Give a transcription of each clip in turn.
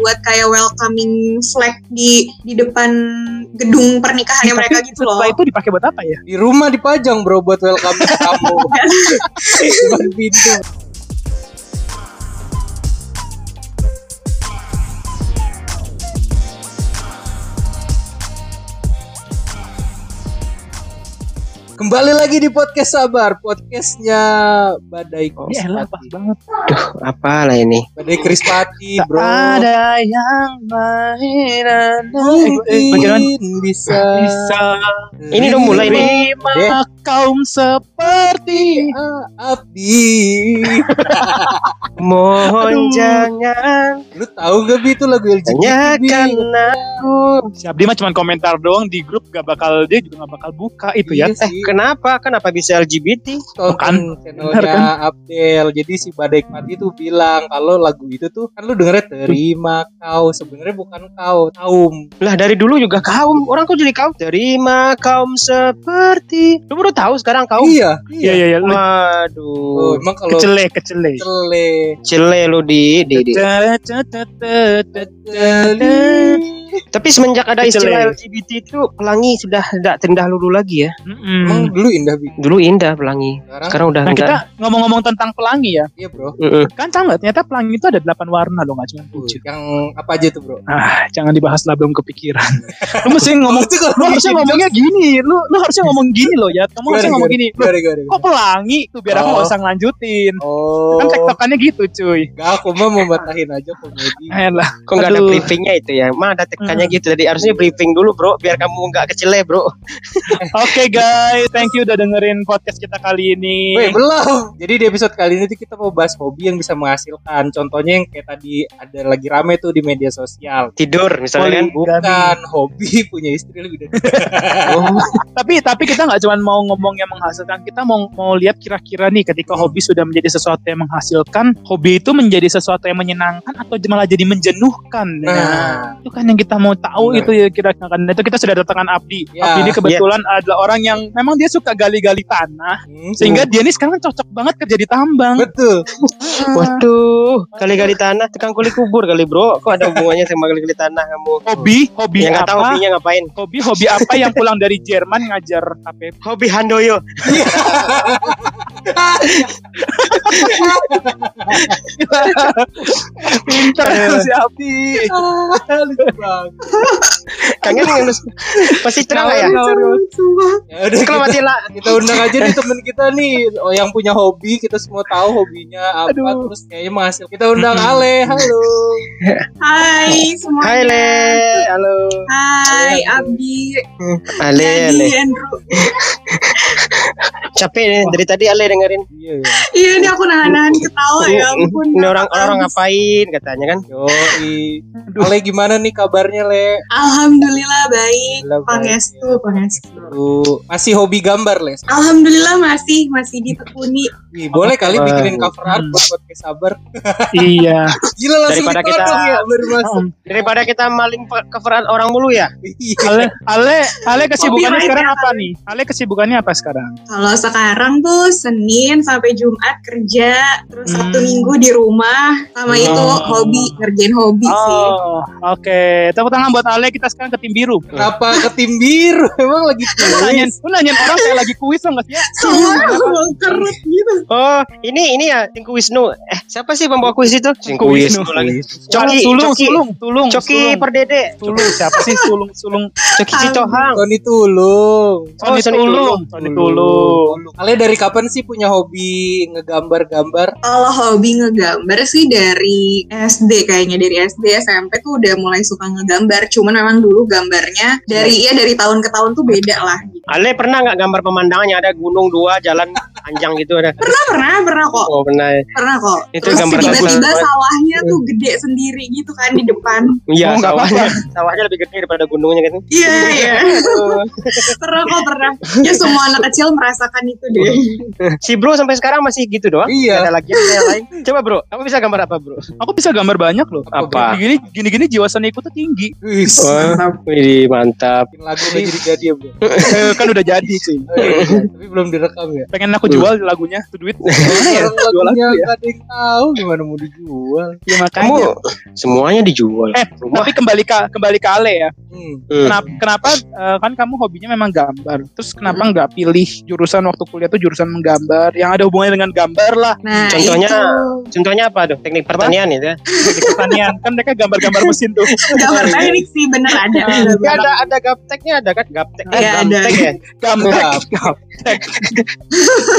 buat kayak welcoming flag di di depan gedung pernikahannya mereka Tapi gitu loh. setelah itu dipakai buat apa ya? Di rumah dipajang bro buat welcome kamu. Depan pintu. Kembali lagi di podcast Sabar, podcastnya Badai Oh, ya lah, pas Krispati. banget. apalah ini Badai Krispati, bro. Ada yang lain Eh, Bagaimana? Mungkin bisa. Bisa Ini dong mulai nih. terima Dek. kaum seperti Abdi. mohon Aduh. jangan Lu tahu gak Bi itu lagu LGBT? hanya Bi? karena aku Siap dia mah cuma komentar doang di grup gak bakal dia juga gak bakal buka itu ya. Iya sih. Eh, kenapa kenapa bisa LGBT tonton channelnya Benar kan? Abdel. Jadi si Badai Mati tuh bilang kalau lagu itu tuh kan lu dengernya terima kau sebenarnya bukan kau taum. lah dari dulu juga kaum orang kok jadi kaum terima kaum seperti lu baru tahu sekarang kaum Iya, Iya iya iya lu Oh, waduh emang kalau kecele kecele. cele cele lu di, Iya, di, di. tapi semenjak ada Kecele. istilah LGBT itu pelangi sudah tidak terindah lulu lagi ya emang Mm-mm. dulu indah bi. dulu indah pelangi Sekarang sekarang udah Nah enggak kita ngomong-ngomong tentang pelangi ya iya bro. Mm-mm. Kan tahu nggak ternyata pelangi itu ada 8 warna loh gak cuma Tuh, 7 yang apa aja tuh bro? Ah jangan dibahas lah belum kepikiran Lu mesti ngomong itu kalau Lu harusnya ngomongnya gini Lu lu harusnya ngomong gini loh ya Kamu harusnya ngomong gini Lu Gimana, gimana, kok gimana? pelangi tuh biar aku Oh. nggak usah ngelanjutin Oh, kan tektokannya gitu cuy gak aku mah mau batahin aja komedi. Ayolah. kok nggak ada Aduh. briefingnya itu ya mah ada tekannya Mm. gitu jadi harusnya briefing dulu bro biar kamu nggak kecele bro Eh. oke guys thank you udah dengerin podcast kita kali ini Weh, belum. Jadi di episode kali ini tuh kita mau bahas hobi yang bisa menghasilkan. Contohnya yang kayak tadi ada lagi rame tuh di media sosial. tidur misalnya kan Poligami. Bukan hobi punya istri lebih dari tapi tapi kita nggak cuma mau ngomong yang menghasilkan kita mau mau lihat kira-kira nih ketika hobi sudah menjadi sesuatu yang menghasilkan hobi itu menjadi sesuatu yang menyenangkan atau malah jadi menjenuhkan Nah. itu kan yang kita mau tahu Benar. itu ya kira-kira Dan itu kita sudah datangkan Abdi Ya. Abdi ini kebetulan adalah orang yang memang dia suka gali-gali tanah Hmm. sehingga dia ini sekarang cocok banget kerja di tambang betul. Waduh, kali-kali tanah, tukang kulit kubur kali bro. Kok ada hubungannya sama kali-kali tanah kamu? hobi hobi Yang Ya, nggak tahu apa hobinya ngapain? hobi hobi apa yang pulang dari Jerman ngajar KPP Hobi handoyo. pinter si Abdi Ah, lucu banget. Kangen yang harus pasti cerah nggak ya. Ya udah Kalau kita, mati lah. kita undang aja nih temen kita nih oh, yang punya hobi kita semua tahu hobinya apa Aduh. terus kayaknya menghasil. Kita undang Mm-mm. Ale. Halo. Hai semuanya. Hai Le, Iya. halo. Ah, Hai Abdi, Ale, Ale. Dadi, Andrew. Capek nih dari tadi Ale dengerin. Iya ya. Iya ini aku nahan-nahan ketawa ya ampun. Ini orang orang ngapain katanya kan? Yoi. Ale gimana nih kabarnya Le? Alhamdulillah baik. Alhamdulillah, baik. Pangestu, pangestu. Lu masih hobi gambar Les? Alhamdulillah masih masih ditekuni. Ih, boleh kali Wah. bikinin cover art Mm. buat podcast sabar. iya Gila langsung Daripada ditodong kita- ya baru masuk. Daripada kita maling pe- coveran orang mulu ya. Iya. Ale Ale Ale kesibukannya Copyright sekarang ya, apa nih Ale kesibukannya apa sekarang Kalau sekarang tuh Senin sampai Jumat kerja, terus Sabtu Hmm. Minggu di rumah, sama itu Oh. hobi ngerjain hobi Iya sih. oh oke tepuk tangan buat Ale kita sekarang ke tim biru Kenapa ke tim biru? Emang lagi Lu nanyain, tulis. lu nanyain orang kayak lagi kuis loh nggak sih? Soalnya aku mau kerut gitu. Oh, ini ini ya Tengku Wisnu. Eh, siapa sih pembawa kuis itu? Tengku Wisnu. lagi. Coki, Coki, sulung, Coki, sulung, sulung, Coki sulung, Perdede, sulung, siapa sih sulung, sulung, Coki Citohang. Sony tulung. Oh, Sony Sony Tulung, Tulung. Sony Tulung. Kalian dari kapan sih punya hobi ngegambar-gambar? Kalau hobi ngegambar sih dari SD kayaknya dari SD SMP tuh udah mulai suka ngegambar. Cuman memang dulu gambarnya dari Iya. ya dari tahun ke tahun tuh beda lah. Gitu. Ale pernah nggak gambar pemandangannya ada gunung dua jalan panjang gitu ada? Pernah pernah pernah kok Oh benar. pernah kok. Itu Terus gambar tiba-tiba bagus. sawahnya tuh gede sendiri gitu kan di depan. Iya Oh, nggak sawahnya sawahnya lebih gede daripada gunungnya kan? Iya iya pernah kok pernah. Ya semua anak kecil merasakan itu deh. si bro sampai sekarang masih gitu doang. Nggak Iya. Ada lagi yang lain. Coba bro, kamu bisa gambar apa bro? Aku bisa gambar banyak loh. Apa? Gini, gini, gini jiwa seniku tuh tinggi. Wih, Oh, wih mantap. bikin lagu udah jadi jadi ya, Bro. Eh, kan udah jadi sih. Oh, iya. Tapi belum direkam ya. Pengen aku jual lagunya tuh duit gimana ya Orang jual lagu lagunya ya gak ada yang tahu gimana mau dijual. ya Kamu makanya semuanya dijual. eh Rumah. tapi kembali ke kembali ke Ale ya Hmm. Hmm. kenapa kenapa eh, kan kamu hobinya memang gambar terus kenapa nggak pilih jurusan waktu kuliah tuh jurusan menggambar yang ada hubungannya dengan gambar lah Nah, Contohnya- itu Contohnya apa tuh? Teknik pertanian itu ya. di pertanian kan mereka gambar-gambar mesin tuh gambar teknik sih bener ada. Ya ada ada gapteknya ada kan gaptek. Eh, Iya, ada. gaptek ya. gambar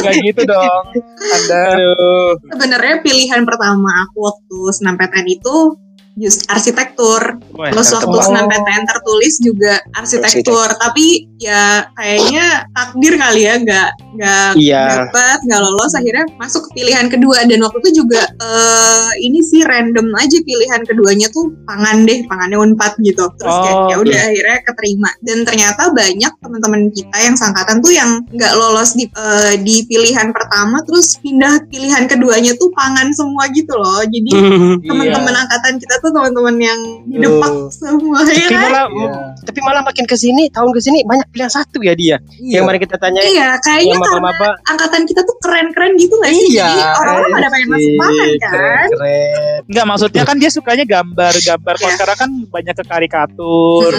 nggak gitu dong anda Aduh. Sebenarnya pilihan pertama aku waktu SNMPTN itu just Eh, arsitektur. Wah, Terus waktu ketebak. SNMPTN tertulis juga arsitektur, tapi ya kayaknya takdir kali ya nggak nggak Iya. Ya. dapat nggak lolos akhirnya masuk ke pilihan kedua dan waktu itu juga eh, ini sih random aja pilihan keduanya tuh pangan deh pangannya unpad gitu terus kayak Oh, ya udah akhirnya keterima dan ternyata banyak teman-teman kita yang sangkatan tuh yang nggak lolos di eh, di pilihan pertama terus pindah pilihan keduanya tuh pangan semua gitu loh iya. jadi Hmm. teman-teman angkatan kita tuh teman-teman yang didepak Aduh. semua ya Tapi kan? malah Iya. tapi malah makin ke sini tahun ke sini banyak pilihan satu ya dia. Iya. Yang mari kita tanyain Iya, kayaknya yang karena maba-maba angkatan kita tuh keren-keren gitu gak sih? Iya, Jadi orang-orang pada pengen masuk pangan kan? Keren. nggak maksudnya kan dia sukanya gambar gambar Iya. karena kan banyak ke karikatur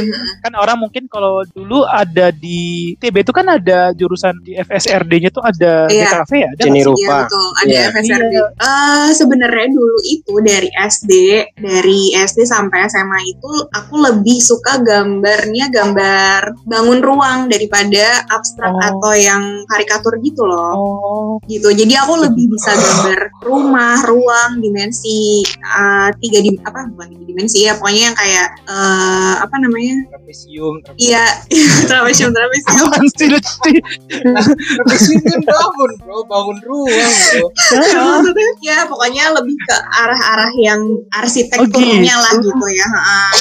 kan orang mungkin kalau dulu ada di TB itu kan ada jurusan di FSRD-nya tuh ada Iya. DKV ya ada Seni Iya rupa. betul, ada Iya. FSRD. Eh, Sebenarnya dulu itu dari SD, dari SD sampai SMA itu aku lebih suka gambarnya gambar bangun ruang daripada abstrak Oh. atau yang karikatur gitu loh. oh gitu. Jadi aku lebih bisa gambar rumah, ruang, dimensi eh, tiga di apa bukan tiga dimensi ya pokoknya yang kayak eh, apa namanya? Trapesium. Iya, trapesium trapesium. Apaan sih lucu? Trapesium kan bangun bro. Bangun ruang bro. Maksudnya, ya pokoknya lebih ke arah-arah yang arsitekturnya lah gitu ya. heeh.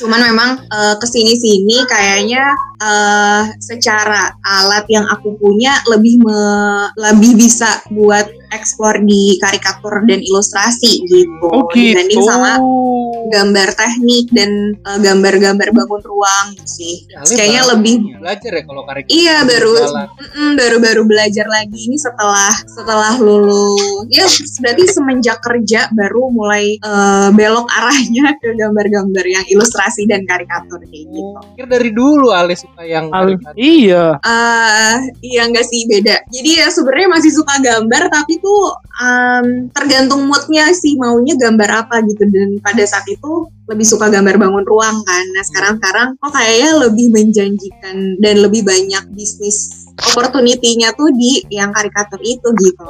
Cuman memang eh, kesini-sini kayaknya eh secara alat yang aku punya lebih me- lebih bisa buat eksplor di karikatur dan ilustrasi gitu oh dibanding gitu sama gambar teknik dan eh, gambar-gambar bangun ruang gitu sih. Ya, Terus kayaknya lebih belajar ya kalau karikatur. Iya, baru- Jalan. Mm-mm, baru-baru belajar lagi ini setelah setelah lulus ya berarti semenjak kerja baru mulai eh, belok arahnya ke gambar-gambar yang ilustrasi dan karikatur kayak gitu. Pikir dari dulu Ale suka yang Al- karikatur. iya eh iya nggak sih beda. Jadi ya sebenarnya masih suka gambar tapi tuh em, tergantung moodnya sih maunya gambar apa gitu dan pada saat itu lebih suka gambar bangun ruang kan. Nah sekarang sekarang kok kayaknya lebih menjanjikan dan lebih banyak bisnis opportunity-nya tuh di yang karikatur itu gitu.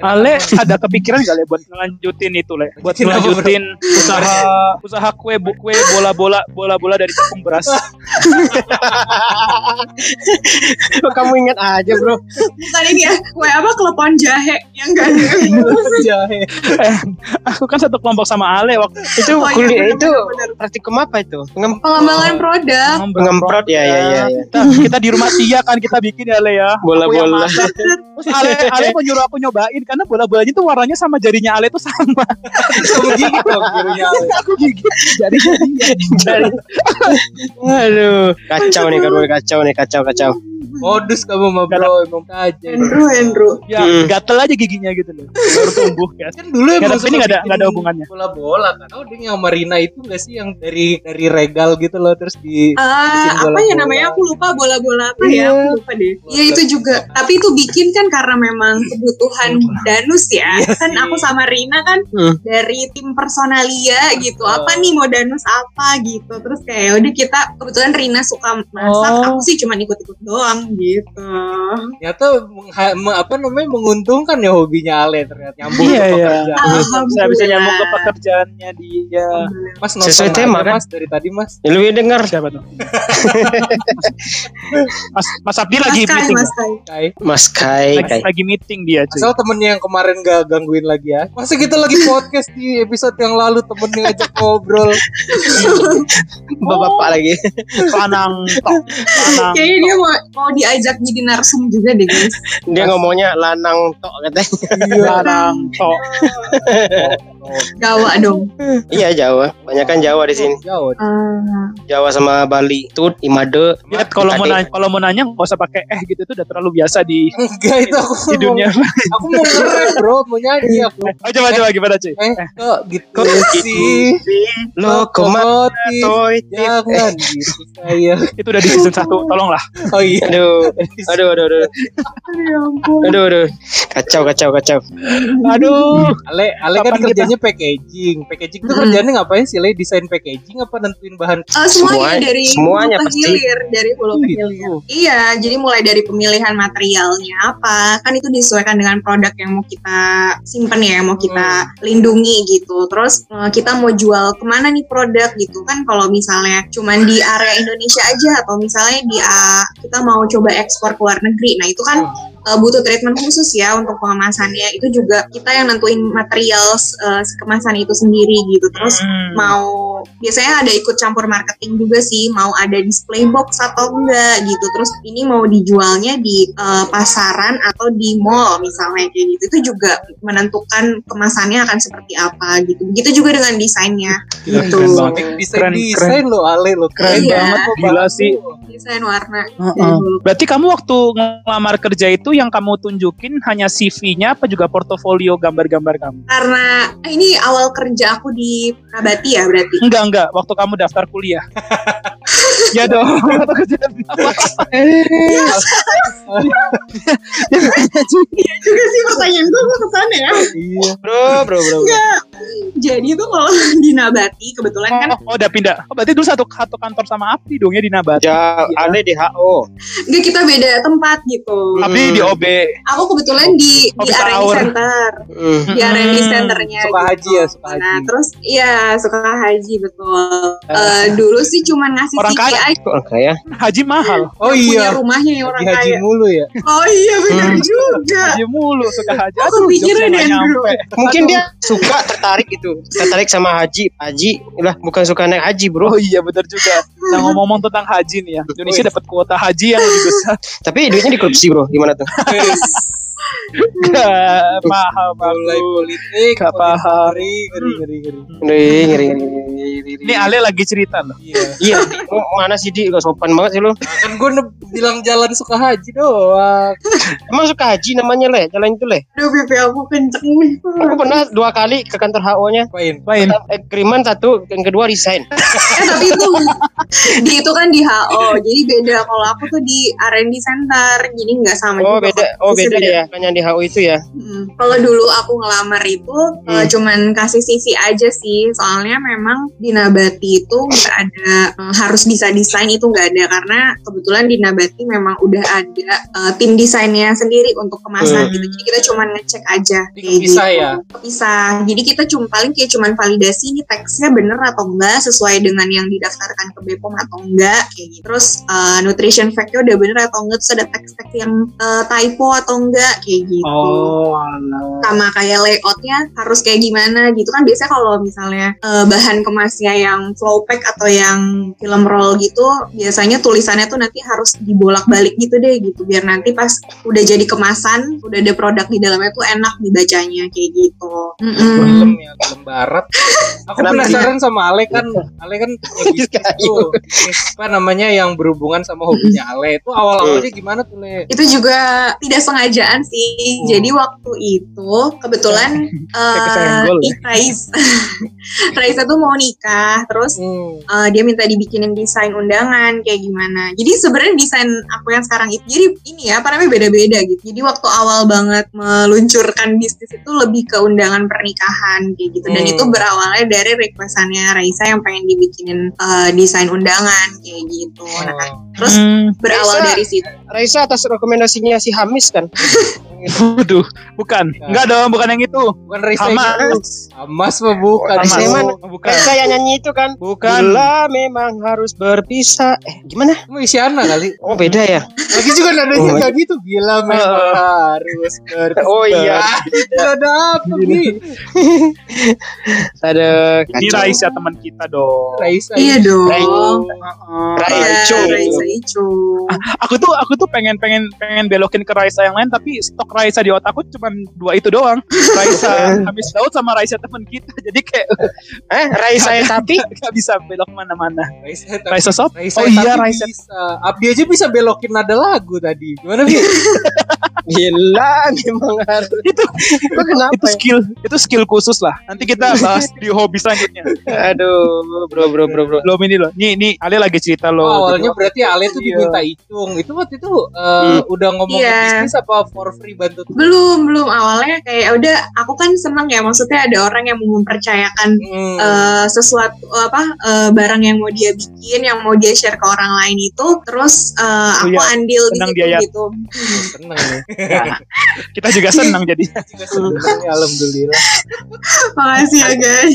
Ale ada kepikiran gak le buat ngelanjutin itu le buat Kenapa, bro? ngelanjutin usaha usaha kue bu- kue bola bola bola bola dari tepung beras iya. kamu ingat aja bro. Bukan ini ya, kue apa klepon jahe yang enggak Jahe. aku kan satu kelompok sama Ale waktu Itu Oh, iya, kuliah bener, itu bener, praktikum apa itu? Ngem pengembangan produk. ngemprot ya ya ya. ya. kita, kita di rumah Tia kan kita bikin ya Ale ya Aku yang Bola-bola. masak. Terus Ale Ale mau nyuruh aku nyobain karena bola-bolanya tuh warnanya sama jarinya Ale tuh sama Kamu gigit dong birunya Ale. aku gigit jarinya Dari- Aduh, kacau nih kacau kacau nih kacau kacau. Modus kamu mah bro. Emang tajam. Andrew, Andrew. ya Hmm. gatel aja giginya gitu loh baru tumbuh ya kan dulu Nggak emang ada- ini nggak ada- nggak ada hubungannya. bola bola kan tau dia yang Marina itu nggak sih yang dari dari regal gitu loh terus di Ah, Bikin apa bola-bola. ya namanya aku lupa bola-bola apa Iya. ya aku lupa deh Iya itu juga tapi itu bikin kan karena memang kebutuhan danus ya kan aku sama Rina kan Hmm. dari tim personalia gitu Betul. apa nih mau danus apa gitu terus kayak udah kita kebetulan Rina suka masak Oh. aku sih cuma ikut-ikut doang gitu ternyata mengha- me- apa namanya menguntungkan ya hobinya Ale ternyata nyambung Iya, ke iya. pekerjaan. saya bisa nyambung ke pekerjaannya dia Mas nonton Sesuai aja, tema, kan? Mas dari tadi Mas Ya, lu ya dengar siapa tuh Mas Mas Abdi lagi Mas Kai, meeting Mas Kai. Kai. Mas Kai. lagi, lagi meeting dia cuy Asal temennya yang kemarin gak gangguin lagi ya Masa kita lagi podcast di episode yang lalu Temennya ngajak ngobrol Bapak-bapak lagi. panang tok panang Kayaknya dia mau, mau diajak jadi narsum juga deh guys Iya. Iya. Nah, Dia ngomongnya lanang tok katanya. panang tok Oh, Jawa dong. Iya Jawa, banyak kan Jawa di sini. Jawa. Ah, Jawa sama Bali, Tut, Imade. Lihat kalau mau Ikade. nanya, kalau mau nanya nggak usah pakai eh gitu itu udah terlalu biasa di Enggak itu aku di dunia. Mau, aku mau ngerem bro, mau nyanyi aku. Oh, coba coba gimana cuy? Eh, kok gitu Kok sih? Lokomotif Toy. Eh. jangan gitu saya. Itu udah di season 1 tolonglah. Oh iya. Aduh, aduh, aduh, aduh, ya ampun. aduh, aduh. Kacau, kacau, kacau. Aduh. Ale, Ale kan Kapan kita- kerjanya packaging. Packaging itu Hmm. kerjanya ngapain sih? Le desain packaging apa nentuin bahan? Eh, semuanya, Semua- dari semuanya hulu ke pasti. hilir, dari hulu ke hilir. Gitu. Iya, jadi mulai dari pemilihan materialnya apa, kan itu disesuaikan dengan produk yang mau kita simpen ya, yang mau Hmm. kita lindungi gitu. Terus eh, kita mau jual kemana nih produk gitu kan? Kalau misalnya cuman di area Indonesia aja atau misalnya di eh, kita mau coba ekspor ke luar negeri, nah itu kan eh, butuh treatment khusus ya untuk pengemasannya. Itu juga kita yang nentuin material eh, kemasan itu sendiri gitu. Terus Hmm. mau biasanya ada ikut campur marketing juga sih mau ada display box atau enggak gitu terus ini mau dijualnya di eh, pasaran atau di mall misalnya kayak gitu itu juga menentukan kemasannya akan seperti apa gitu begitu juga dengan desainnya Gila, gitu Iya, keren banget. Desain Keren, desain lo Ale lo keren Iya. banget lo Gila sih. desain warna gitu. Heeh. Berarti kamu waktu ngelamar kerja itu yang kamu tunjukin hanya CV-nya apa juga portofolio gambar-gambar kamu? karena eh, ini awal kerja aku di Kabati ya berarti Enggak enggak, waktu kamu daftar kuliah. ya dong. Waktu kerja apa? juga sih pertanyaan gue mau kesana ya Iya. Bro, bro, bro. bro. jadi itu kalau di Nabati kebetulan kan Oh, oh, udah pindah. Oh, berarti dulu satu satu kantor sama Abdi dong ya di Nabati. Ja, Ale di HO. enggak kita beda tempat gitu Hmm. Abdi di OB. aku kebetulan di Oh, di bisa R&D awur. center Hmm. di R&D centernya Suka gitu. haji ya, suka Nah, haji. terus iya suka haji betul. Eh, dulu sih cuman ngasih Orang CV kaya. aja Orang kaya. Haji mahal. Oh yang punya iya. rumahnya yang orang Haji Hmm. haji kaya. mulu ya. Oh iya benar juga. Haji mulu suka haji. Aku Aduh, pikir jokesnya nggak Andrew. nyampe. Mungkin dia suka tertarik gitu. Tertarik sama haji. Haji, lah bukan suka naik haji, bro. Oh iya bener juga. Nah ngomong-ngomong tentang haji nih ya. Indonesia dapat kuota haji yang lebih besar. Tapi duitnya dikorupsi, bro. Gimana tuh? Wes, Gak paham Mulai aku. politik, Gak politik paham. Ngeri, ngeri, ngeri, ngeri. Ngeri, ngeri, ngeri, ngeri, ngeri. Ini Ale lagi cerita loh. Iya. Iya, Di. Lu mana sih Di? Gak sopan banget sih lu. Kan gue bilang jalan suka haji doang. Emang suka haji namanya le, jalan itu le. Aduh pipi aku kenceng nih. Aku pernah dua kali ke kantor HO-nya. Apain? Main. Agreement satu, yang kedua resign. Eh tapi itu di itu kan di HO. Jadi beda kalau aku tuh di R&D center. Jadi nggak sama Oh juga. beda, oh Justru beda ya, kan yang di HO itu ya. Hmm. Kalau dulu aku ngelamar itu eh, cuman kasih CV aja sih, soalnya memang di Nabati itu nggak ada eh, harus bisa desain itu nggak ada karena kebetulan di Nabati memang udah ada eh, tim desainnya sendiri untuk kemasan gitu. Jadi kita cuman ngecek aja. Jadi kepisah ya? Kepisah. Jadi kita cuma paling kayak cuman validasi ini teksnya bener atau enggak sesuai dengan yang didaftarkan ke BPOM atau enggak kayak gitu. Terus eh, nutrition fact-nya udah bener atau enggak, terus ada teks-teks yang eh, typo atau enggak kayak gitu Oh Allah. sama kayak layoutnya harus kayak gimana gitu kan biasanya kalau misalnya eh, bahan kemasnya yang flow pack atau yang film roll gitu biasanya tulisannya tuh nanti harus dibolak-balik gitu deh gitu biar nanti pas udah jadi kemasan udah ada produk di dalamnya tuh enak dibacanya kayak gitu Mm-mm. Film ya, film barat. Aku Kenapa penasaran sama Ale kan, Ale kan punya bisnis tuh. apa namanya yang berhubungan sama hobinya Ale itu awal-awalnya gimana tuh Le? itu juga tidak sengajaan sih Hmm. jadi waktu itu kebetulan eh kesenggol ya. Rais Raisa tuh mau nikah terus Hmm. Eh, dia minta dibikinin desain undangan kayak gimana. Jadi sebenarnya desain aku yang sekarang itu jadi ini ya apa namanya beda-beda gitu. Jadi waktu awal banget meluncurkan bisnis itu lebih ke undangan pernikahan kayak gitu. Dan Hmm. itu berawalnya dari requestannya Raisa yang pengen dibikinin eh, desain undangan kayak gitu. Nah, terus Hmm, berawal Raisa. dari situ. Raisa atas rekomendasinya si Hamis kan. Waduh, bukan. Iya. Enggak dong, bukan yang itu. Bukan Risa Hamas. Hamas mah bukan. Hamas. Itu- Sleman. Oh, Bukan. Raisa yang nyanyi itu kan. Bukan. Bila memang harus berpisah. Eh gimana? Itu Isyana kali. Oh beda ya. Lagi juga nadanya Oh. nggak gitu gila memang Oh. harus ber- Oh iya. Itu ada apa nih? Ada Ini Eh, kacau. Raisa teman kita dong. Raisa. Iya dong. Heeh. Raisa. Iya, Icu. Raisa Icu. Ah. Aku tuh aku tuh pengen pengen pengen belokin ke Raisa yang lain tapi stok Raisa di otakku cuma dua itu doang. Raisa habis laut sama Raisa teman kita. Jadi kayak Eh, Rai saya tapi nggak bisa belok mana-mana. Raisa, tapi- Raisa Sop? Raisa, Oh iya, tapi Raisa. Bisa. Abdi aja bisa belokin nada lagu tadi. Gimana Bi? gila memang harus. Itu kenapa? Itu ya? skill, itu skill khusus lah. Nanti kita bahas di hobi selanjutnya. Aduh, bro bro bro bro. Belum ini loh. Nih, nih Ale lagi cerita loh. Oh, awalnya berarti Ale tuh Iya. diminta Icung. Itu waktu itu eh, udah ngomong Iya. bisnis apa for free bantu tuh? belum belum awalnya kayak udah aku kan seneng ya maksudnya ada orang yang mau mempercayakan Hmm. eh, sesuatu apa eh, barang yang mau dia bikin yang mau dia share ke orang lain itu terus eh, aku iya. andil di Senang situ dia ya. gitu seneng nih. Kita juga senang jadi. Juga seneng nih, alhamdulillah. makasih ya guys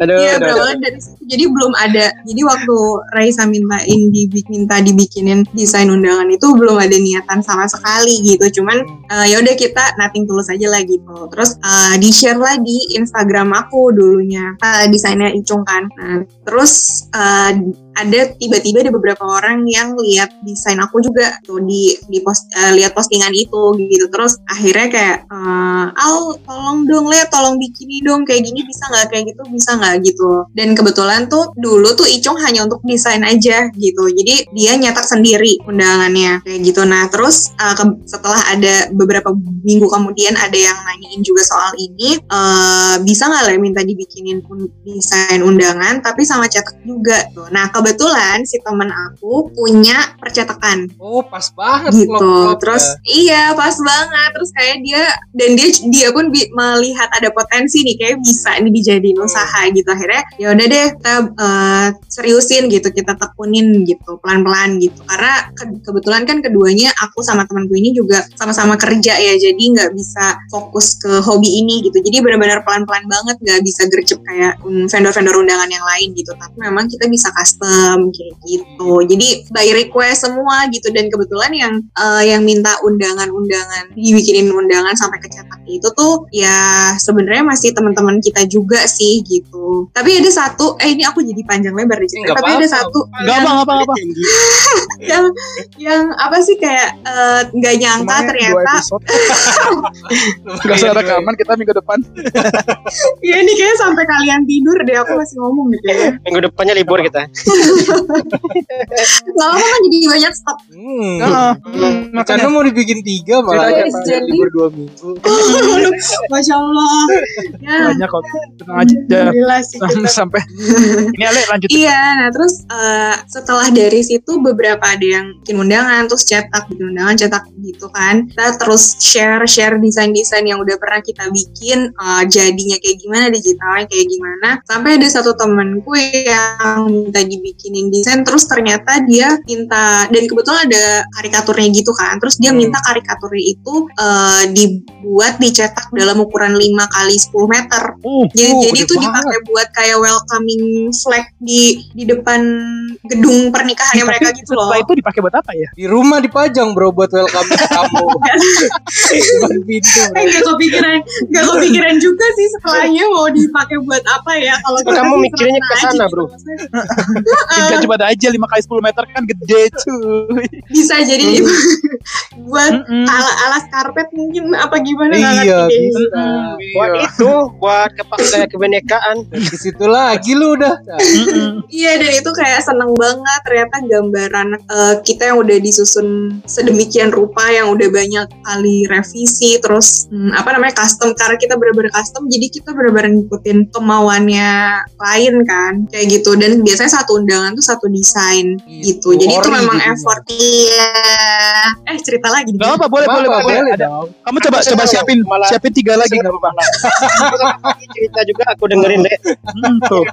Aduh, Iya aduh, aduh. berawal dari situ. Jadi belum ada. Jadi waktu Raisa mintain dibi- minta dibikinin desain undangan itu belum ada niatan sama sekali gitu. Cuman eh, ya udah kita nothing tulus aja lah gitu. Terus eh, di share lah di Instagram aku dulunya Eh, desainnya Icung kan. Nah, terus eh, ada tiba-tiba ada beberapa orang yang lihat desain aku juga tuh di di post eh, lihat postingan itu gitu terus akhirnya kayak eh, al tolong dong le tolong bikini dong kayak gini bisa nggak kayak gitu bisa nggak gitu dan kebetulan tuh dulu tuh Icung hanya untuk desain aja gitu jadi dia nyetak sendiri undangannya kayak gitu nah terus eh, ke- setelah ada beberapa minggu kemudian ada yang nanyain juga soal ini eh, bisa nggak le minta dibikinin un- desain undangan tapi sama cetak juga tuh. Nah kebetulan si teman aku punya percetakan Oh, pas banget gitu. klop-klop Terus ya. iya pas banget. Terus kayak dia dan dia dia pun bi- melihat ada potensi nih kayak bisa nih dijadiin usaha gitu. Akhirnya ya udah deh kita eh, seriusin gitu, kita tekunin gitu pelan-pelan gitu. Karena ke- kebetulan kan keduanya aku sama temanku ini juga sama-sama kerja ya, jadi nggak bisa fokus ke hobi ini gitu. Jadi benar-benar pelan-pelan banget, nggak bisa gercep kayak mm, vendor-vendor undangan yang lain gitu. Tapi memang kita bisa custom kayak gitu. Jadi by request semua gitu dan kebetulan yang eh, yang minta undangan-undangan dibikinin undangan sampai ke cetak itu tuh ya sebenarnya masih teman-teman kita juga sih gitu. Tapi ada satu, eh ini aku jadi panjang lebar nih cerita. Nggak Tapi ada apa-apa. satu Enggak apa apa apa. yang yang apa sih kayak eh, nggak nyangka ternyata episode. Enggak Iya, usah rekaman kita minggu depan. ya ini kayak sampai kalian tidur deh aku masih ngomong gitu ya. Minggu depannya libur kita. Lama kan jadi banyak stop. Hmm. Heeh. Karena Makanya mau dibikin tiga malah ya, Jadi- Pak. jadi- libur dua minggu. Masya Allah. Ya. banyak kok. Tenang aja. Alhamdulillah sih kita. sampai ini Ale lanjut Iya, nah terus eh, setelah dari situ beberapa ada yang bikin undangan, terus cetak bikin undangan, cetak gitu kan. Kita terus share share desain desain yang udah pernah kita bikin, eh, jadinya kayak gimana, digitalnya kayak gimana. Sampai ada satu temanku yang minta dibikinin desain, terus ternyata dia minta dan kebetulan ada karikaturnya gitu kan. Terus dia minta karikaturnya itu eh, dibuat dicetak dalam ukuran 5 kali 10 meter. Uh, Jadi, Oh, jadi gede itu dipakai buat kayak welcoming flag di di depan gedung pernikahannya tapi mereka gitu loh. setelah itu dipakai buat apa ya? Di rumah dipajang bro buat welcome kamu. Depan pintu. bro. Eh, gak kepikiran, gak kepikiran juga sih setelahnya mau dipakai buat apa ya kalau kita Kamu sih mikirnya senang-senang ke sana, aja gitu bro. maksudnya. Tinggal coba aja 5 kali 10 meter kan gede cuy. Bisa jadi buat Mm-mm. ala alas karpet mungkin apa gimana nggak Iya, ngerti deh. bisa. Buat Iya. itu, buat kepakai kebenekaan. Dan ke situ lagi lu udah. Nah, Mm-mm. Iya dan itu kayak seneng banget ternyata gambaran eh, kita yang udah disusun sedemikian rupa yang udah banyak kali revisi terus hmm, apa namanya custom karena kita bener-bener custom jadi kita bener-bener ngikutin kemauannya lain kan kayak gitu dan biasanya satu undangan tuh satu desain gitu jadi itu Ori memang jadinya. effort iya eh cerita lagi Gak apa boleh Apa, boleh boleh. boleh Ada. dong. Kamu coba Aku coba senang, siapin malah. siapin tiga lagi Aku enggak apa-apa. kan cerita juga aku dengerin deh. Mm, Tuh.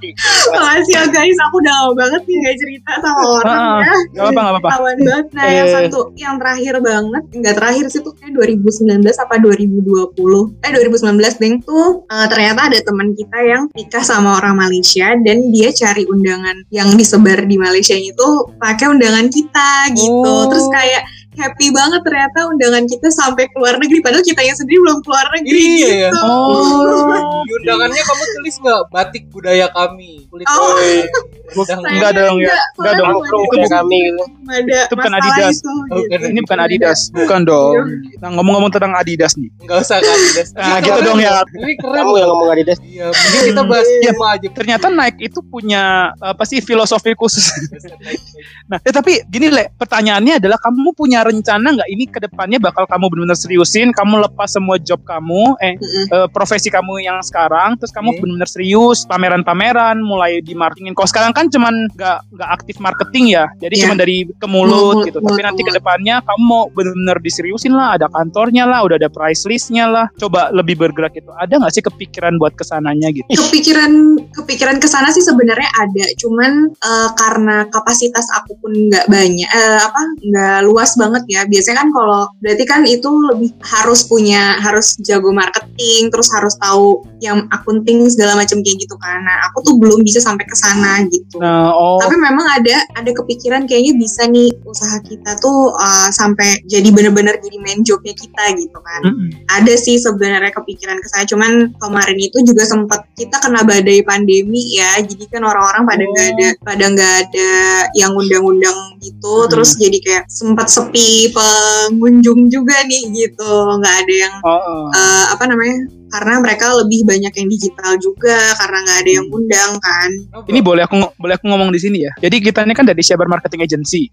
makasih ya guys aku udah lama banget nih gak cerita sama orang Ah, ya Gak apa-apa gak apa-apa. Kawan banget. Nah, yang Eh. satu yang terakhir banget, enggak terakhir sih tuh kayak 2019 apa 2020. Eh 2019 deng tuh eh, ternyata ada teman kita yang nikah sama orang Malaysia dan dia cari undangan yang disebar di Malaysia itu pakai undangan kita gitu. Oh. Terus kayak happy banget ternyata undangan kita sampai ke luar negeri padahal kitanya sendiri belum keluar negeri Iya, ya. gitu. Oh. Di undangannya kamu tulis nggak batik budaya kami? Kulit Oh. Udang. Sayangnya Enggak dong, ya. enggak, Enggak dong, soalnya itu belum kayak kami gitu. ada itu bukan masalah Adidas. itu, Oh, gitu. Ini bukan Adidas, bukan dong. Nah, ngomong-ngomong tentang Adidas nih. Nggak usah kan? Des. Nah, Ini gitu keren. dong ya. Ini keren. Kamu yang ngomong Adidas. Iya, mungkin kita bahas Iya. lima aja. Ternyata Nike itu punya apa sih filosofi khusus. Nah, eh, tapi gini le, pertanyaannya adalah kamu punya rencana nggak ini ke depannya bakal kamu benar-benar seriusin, kamu lepas semua job kamu, eh Mm-mm. eh, profesi kamu yang sekarang, terus kamu Hmm. Oke. benar-benar serius pameran-pameran, mulai di marketingin. Kalau sekarang kan cuman nggak nggak aktif marketing ya, jadi Iya. cuman dari ke mulut Mulut, gitu. mulut, tapi nanti ke mulut. depannya kamu mau benar-benar diseriusin lah, ada kantornya lah, udah ada price listnya lah, coba lebih bergerak gitu. Ada nggak sih kepikiran buat kesananya gitu? kepikiran kepikiran ke sana sih sebenarnya ada cuman eh, karena kapasitas aku pun nggak banyak eh, apa nggak luas banget ya biasanya kan kalau berarti kan itu lebih harus punya harus jago marketing terus harus tahu yang akunting segala macam kayak gitu kan nah aku tuh belum bisa sampai ke sana gitu Nah, oh. tapi memang ada ada kepikiran kayaknya bisa nih usaha kita tuh eh, sampai jadi bener-bener jadi main jobnya kita gitu kan Mm-mm. ada sih sebenarnya kepikiran ke saya cuman kemarin itu juga sempat kita kena badai pandemi ya jadi kan orang-orang pada Oh. nggak ada pada nggak ada yang undang-undang gitu Hmm. terus jadi kayak sempat sepi pengunjung juga nih gitu nggak ada yang Oh, oh. eh, apa namanya karena mereka lebih banyak yang digital juga karena nggak ada yang undang kan Ini boleh aku boleh aku ngomong di sini ya. Jadi kita ini kan dari Syabar Marketing Agency.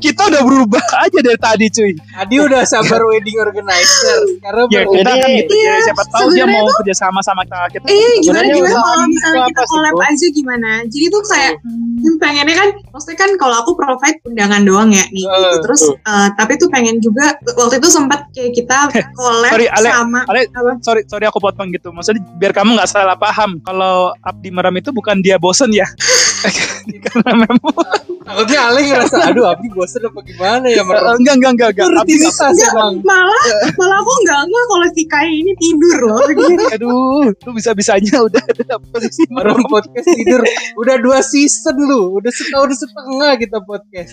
kita udah berubah aja dari tadi cuy. Adi udah sabar wedding organizer. Sekarang Ya kita Jadi- kan gitu. Iya, Jadi siapa tahu dia sebenarnya mau kerja sama sama kita. Kita Eh gimana Sebenarnya gimana usaha kalau ini misalnya itu kita apa sih, collab Bu? aja gimana? Jadi tuh kayak hmm, pengennya kan, maksudnya kan kalau aku provide undangan doang ya nih, Eh, gitu. terus eh, tapi tuh pengen juga waktu itu sempat kayak kita collab Sorry, Ale. sama Ale. apa? sorry sorry aku potong gitu. Maksudnya biar kamu nggak salah paham. Kalau Abdi Meram itu bukan dia bosen ya. Karena memang takutnya Ale ngerasa aduh Abdi bosen apa gimana ya merem. enggak enggak enggak enggak. Abdi nggak- Rutinitas Enggak, emang. malah Eh. malah aku enggak enggak kalau si Kai ini tidur loh. Aduh, lu bisa-bisanya udah ada posisi Orang podcast tidur udah dua season lu, udah setahun setengah kita podcast.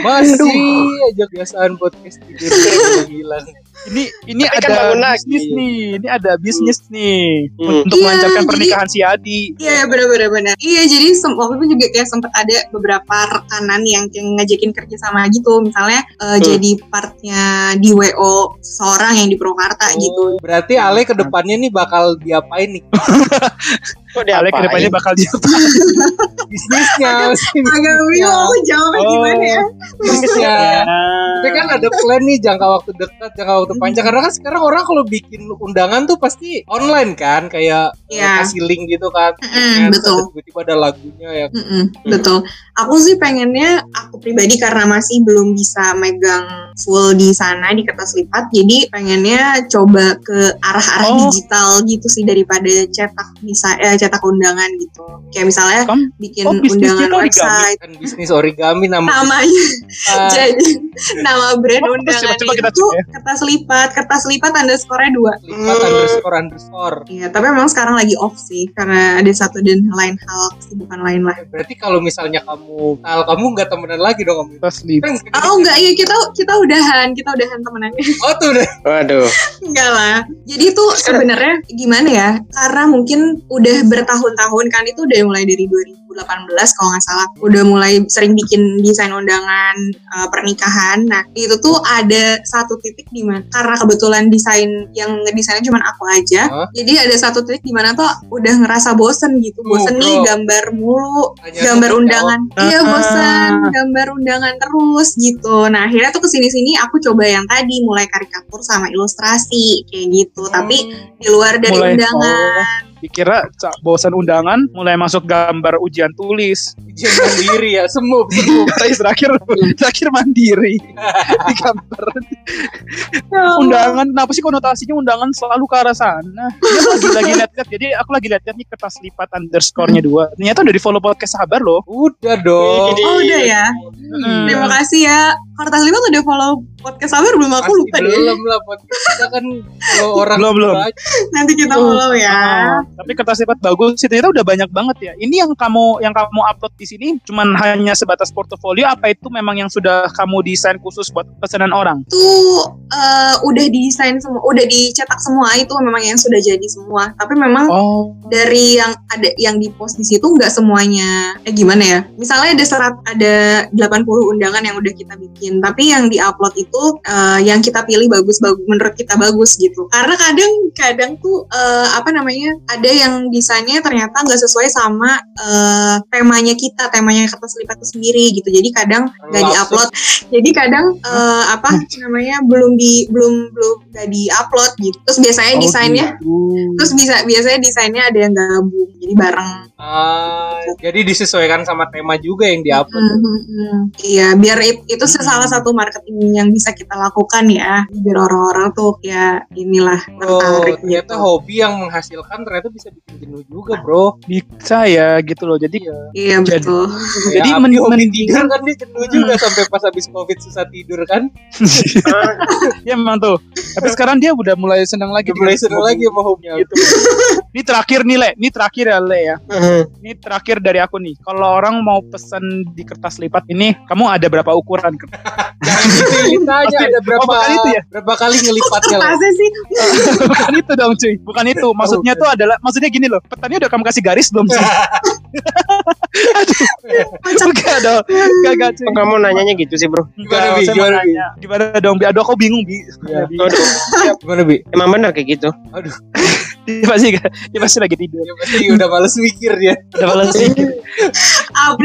Masih aja kebiasaan podcast tidur hilang. ini ini Tapi kan ada bangun lagi. bisnis nih ini ada bisnis nih Hmm. untuk Iya, melancarkan jadi- pernikahan si Adi Iya benar-benar benar. Iya jadi sem- waktu itu juga kayak sempat ada beberapa rekanan yang kayak ngajakin kerja sama gitu, misalnya eh, Hmm. jadi partnya di WO seorang yang di Purwakarta gitu. Oh, Berarti Ale kedepannya nih bakal diapain nih? Kok Ale diapain? kedepannya bakal dia Bisnisnya, Oh, Agak iya. Ya. bingung aku jawabnya gimana ya? bisnisnya. Tapi kan ada plan nih jangka waktu dekat, jangka waktu Hmm. panjang. Karena kan sekarang orang kalau bikin undangan tuh pasti online kan, kayak eh, Iya. kasih link gitu kan. Mm-mm, Terus betul. ada Tiba-tiba ada lagunya ya. Mm-mm, Hmm. betul. Aku sih pengennya aku pribadi karena masih belum bisa megang full di sana di kertas lipat, jadi pengennya coba ke arah-arah Oh. digital gitu sih daripada cetak bisa eh, cetak undangan gitu. Kayak misalnya Kamu- bikin oh, bisnisnya undangan tuh origami. website Kan bisnis origami nama namanya Ah, jadi nama brand Oh, terus undangan coba-coba kita itu cek ya. kertas lipat kertas lipat underscore dua lipat underscore underscore. Iya, tapi memang sekarang lagi off sih karena ada satu dan lain hal kesibukan lain lah. Eh, Berarti kalau misalnya kamu, tal kamu nggak temenan lagi dong kamu. Terus li- Kan- Oh enggak, iya kita kita udahan, kita udahan temenan. Oh tuh udah. Waduh. Enggak lah. Jadi itu sebenarnya gimana ya? Karena mungkin udah bertahun-tahun kan itu udah mulai dari 2018 kalau nggak salah. Udah mulai sering bikin desain undangan eh, pernikahan. Nah, itu tuh ada satu titik di mana karena kebetulan desain yang ngedesainnya cuma aku aja. Hah? Jadi ada satu titik di mana tuh udah ngerasa bosen gitu. Bosen Uh, nih bro. gambar mulu, Tanya gambar dulu, undangan. jawab. Iya, Ah. bosen gambar undangan terus gitu. Nah akhirnya tuh kesini-sini aku coba yang tadi mulai karikatur sama ilustrasi kayak gitu. Tapi di luar dari Hmm. mulai undangan. oh, dikira ca- bosan undangan mulai masuk gambar ujian tulis ujian mandiri ya, semua semua. Terus terakhir terakhir mandiri di gambar undangan kenapa sih konotasinya undangan selalu ke arah sana Ini aku lagi lagi lihat jadi aku lagi lihat nih kertas lipat underscore-nya dua ternyata udah di follow podcast sabar loh Udah dong. Oh udah ya. Hmm. Terima kasih ya. Kertas Lipat udah follow podcast Sabar belum aku Pasti lupa deh. belum lah podcast kita kan kalau orang Belum, belum. baca, Nanti kita follow ya. Ah, tapi kertas lipat bagus sih ternyata udah banyak banget ya. Ini yang kamu yang kamu upload di sini cuman hanya sebatas portofolio apa itu memang yang sudah kamu desain khusus buat pesanan orang? Itu eh, udah desain semua, udah dicetak semua itu memang yang sudah jadi semua. Tapi memang Oh. dari yang ada yang di post di situ nggak semuanya eh gimana ya misalnya ada serat ada 80 undangan yang udah kita bikin tapi yang diupload itu eh, yang kita pilih bagus bagus menurut kita bagus gitu karena kadang kadang tuh eh, apa namanya ada yang desainnya ternyata nggak sesuai sama eh, temanya kita temanya kertas lipat itu sendiri gitu jadi kadang nggak Langsung. diupload jadi kadang eh, apa namanya belum di belum belum nggak diupload gitu terus Eh, oh biasanya desainnya gitu. Terus bisa biasanya desainnya ada yang gabung, jadi bareng. gitu. Ah, jadi disesuaikan sama tema juga yang diupload. Mhm, mhm. Iya, biar it- itu salah satu marketing yang bisa kita lakukan ya. Biar orang-orang tuh ya inilah Bro, tertarik gitu. Oh, ternyata hobi yang menghasilkan ternyata bisa bikin jenuh juga, Bro. Bisa ya gitu loh. Jadi Iya jadi- betul. jadi Kayak men- Abdi Ya, hobi mendingan- tidur kan dia jenuh juga Mm. sampai pas habis Covid susah tidur kan. ya memang tuh. Tapi sekarang dia udah mulai senang lagi. Udah mulai seru lagi sama hobinya. Gitu. Ini terakhir nih Le, ini terakhir ya Le ya. Ini terakhir dari aku nih. Kalau orang mau pesen di kertas lipat ini, kamu ada berapa ukuran? Jangan gitu ditanya Pasti- ada berapa oh, bukan itu ya? berapa kali ngelipatnya lah. Masa sih? bukan itu dong cuy bukan itu maksudnya Oh, tuh iya. adalah maksudnya gini loh petanya udah kamu kasih garis belum sih aduh enggak dong enggak enggak cuy Kok kamu nanyanya gitu sih bro? Gimana, Bi? Enggak, saya mau Gimana, Bi? nanya. gimana dong bi aduh aku bingung bi Iya. Bi. Aduh, Gimana Bi? emang benar kayak gitu. dia pasti dia pasti lagi tidur Ya pasti udah males mikir ya. udah balas April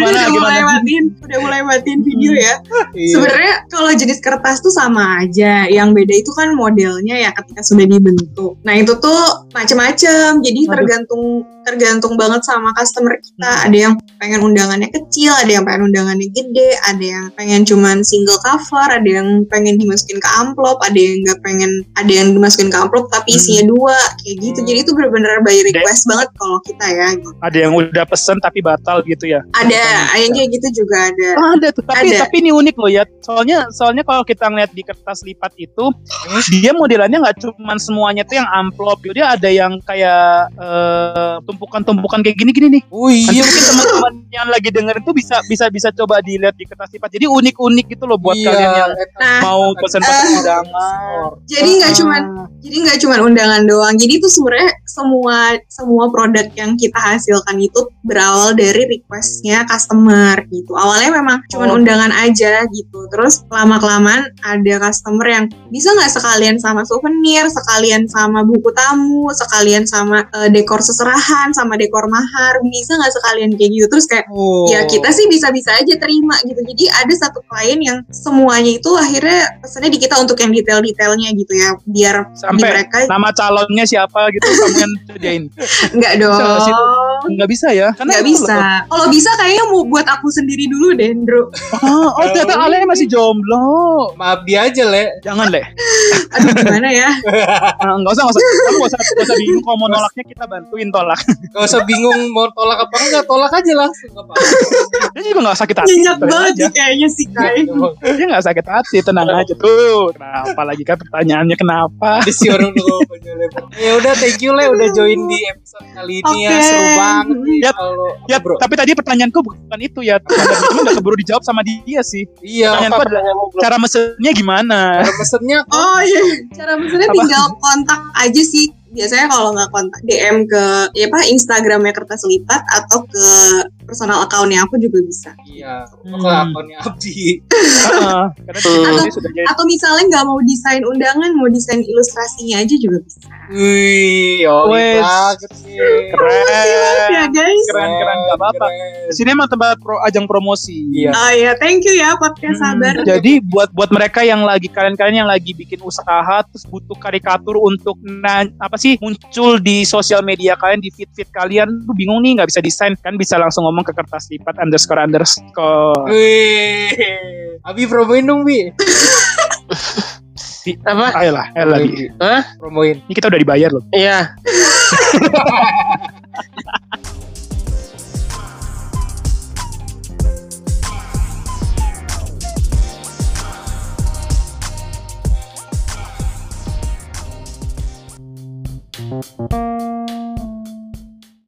Gimana, udah mulai gimana? matiin, udah mulai matiin video ya. Iya. Sebenarnya kalau jenis kertas tuh sama aja. Yang beda itu kan modelnya ya ketika sudah dibentuk. Nah itu tuh macem-macem. Jadi Aduh. tergantung tergantung banget sama customer kita. Ada yang pengen undangannya kecil, ada yang pengen undangannya gede, ada yang pengen cuman single cover, ada yang pengen dimasukin ke amplop, ada yang nggak pengen, ada yang dimasukin ke amplop tapi isinya dua kayak gitu. Jadi itu benar-benar by request banget kalau kita ya. gitu. ada yang udah pesen tapi batal gitu ya Ada, yang kayak gitu juga ada. Ah, ada tuh tapi Ada. tapi ini unik loh ya soalnya soalnya kalau kita ngeliat di kertas lipat itu dia modelannya nggak cuman semuanya tuh yang amplop dia ada yang kayak eh, tumpukan-tumpukan kayak gini-gini nih Oh Nanti iya. mungkin teman-teman yang lagi dengerin tuh bisa bisa bisa coba dilihat di kertas lipat. Jadi unik-unik gitu loh buat Iya, kalian yang Nah, mau pesan-pesan eh. undangan. jadi Ah. nggak eh, cuman Jadi nggak cuma undangan doang. Jadi itu sebenarnya semua semua produk yang kita hasilkan itu berawal dari requestnya customer gitu. Awalnya memang cuma Oh. undangan aja gitu. Terus lama kelamaan ada customer yang bisa nggak sekalian sama souvenir, sekalian sama buku tamu, sekalian sama eh, dekor seserahan, sama dekor mahar, bisa nggak sekalian kayak gitu. Terus kayak Oh. Ya kita sih bisa-bisa aja terima gitu. Jadi ada satu klien yang semuanya itu akhirnya pesannya di kita untuk yang detail-detailnya gitu ya, biar di sampai mereka nama calonnya siapa gitu kamu yang kerjain. nggak dong. nggak sih? Nggak bisa ya? Karena Nggak itu bisa. loh. Kalau bisa kayaknya mau buat aku sendiri dulu deh, Ndro. Ah, oh, ternyata Iya. Ale masih jomblo. Maaf dia aja, Le. Jangan leh. Aduh gimana ya? Ah, Nggak usah, nggak usah. Kamu nggak usah, nggak usah bingung. Kalau mau nolaknya kita bantuin tolak. Gak usah bingung mau tolak apa enggak, tolak aja langsung apa. Dia juga nggak sakit hati. Nyenyak tenang banget aja. Iya, sih kayaknya sih Nah, Kai. Dia nggak sakit hati, tenang aja tuh. Kenapa lagi kan pertanyaannya kenapa? Ada si orang udah ngomong aja, Le. Ya udah, thank you, Le. Udah join di episode kali ini ya. Oke. Seru banget. nih Yap, kalau- Ya, Apa, bro. tapi tadi pertanyaanku bukan itu ya. Cuma udah keburu dijawab sama dia sih. Iya, pertanyaan apa gua adalah cara mesennya gimana? cara pesennya kok. Oh iya. Cara misalnya Apa? tinggal kontak aja sih. Biasanya kalau nggak kontak DM ke ya apa Instagramnya kertas lipat atau ke personal accountnya aku juga bisa. Iya, Hmm. kalau akunnya Abdi. Heeh, Karena di Atau- sini sudah jadi. Atau misalnya nggak mau desain undangan, mau desain ilustrasinya aja juga bisa. Wih, oh Wes. banget sih. Keren. Ya guys. Keren, keren, nggak apa-apa. keren. Di sini emang tempat pro, ajang promosi. Iya. Oh ya, thank you ya podcast Hmm, sabar. Jadi buat buat mereka yang lagi kalian-kalian yang lagi bikin usaha terus butuh karikatur untuk na- apa sih muncul di sosial media kalian di feed feed kalian tuh bingung nih nggak bisa desain kan bisa langsung ngomong ke kertas lipat underscore underscore Wih. Abi promoin dong, Bi. Apa? ayolah ayolah Bi. Hah? Promoin. ini kita udah dibayar loh Iya. Bye.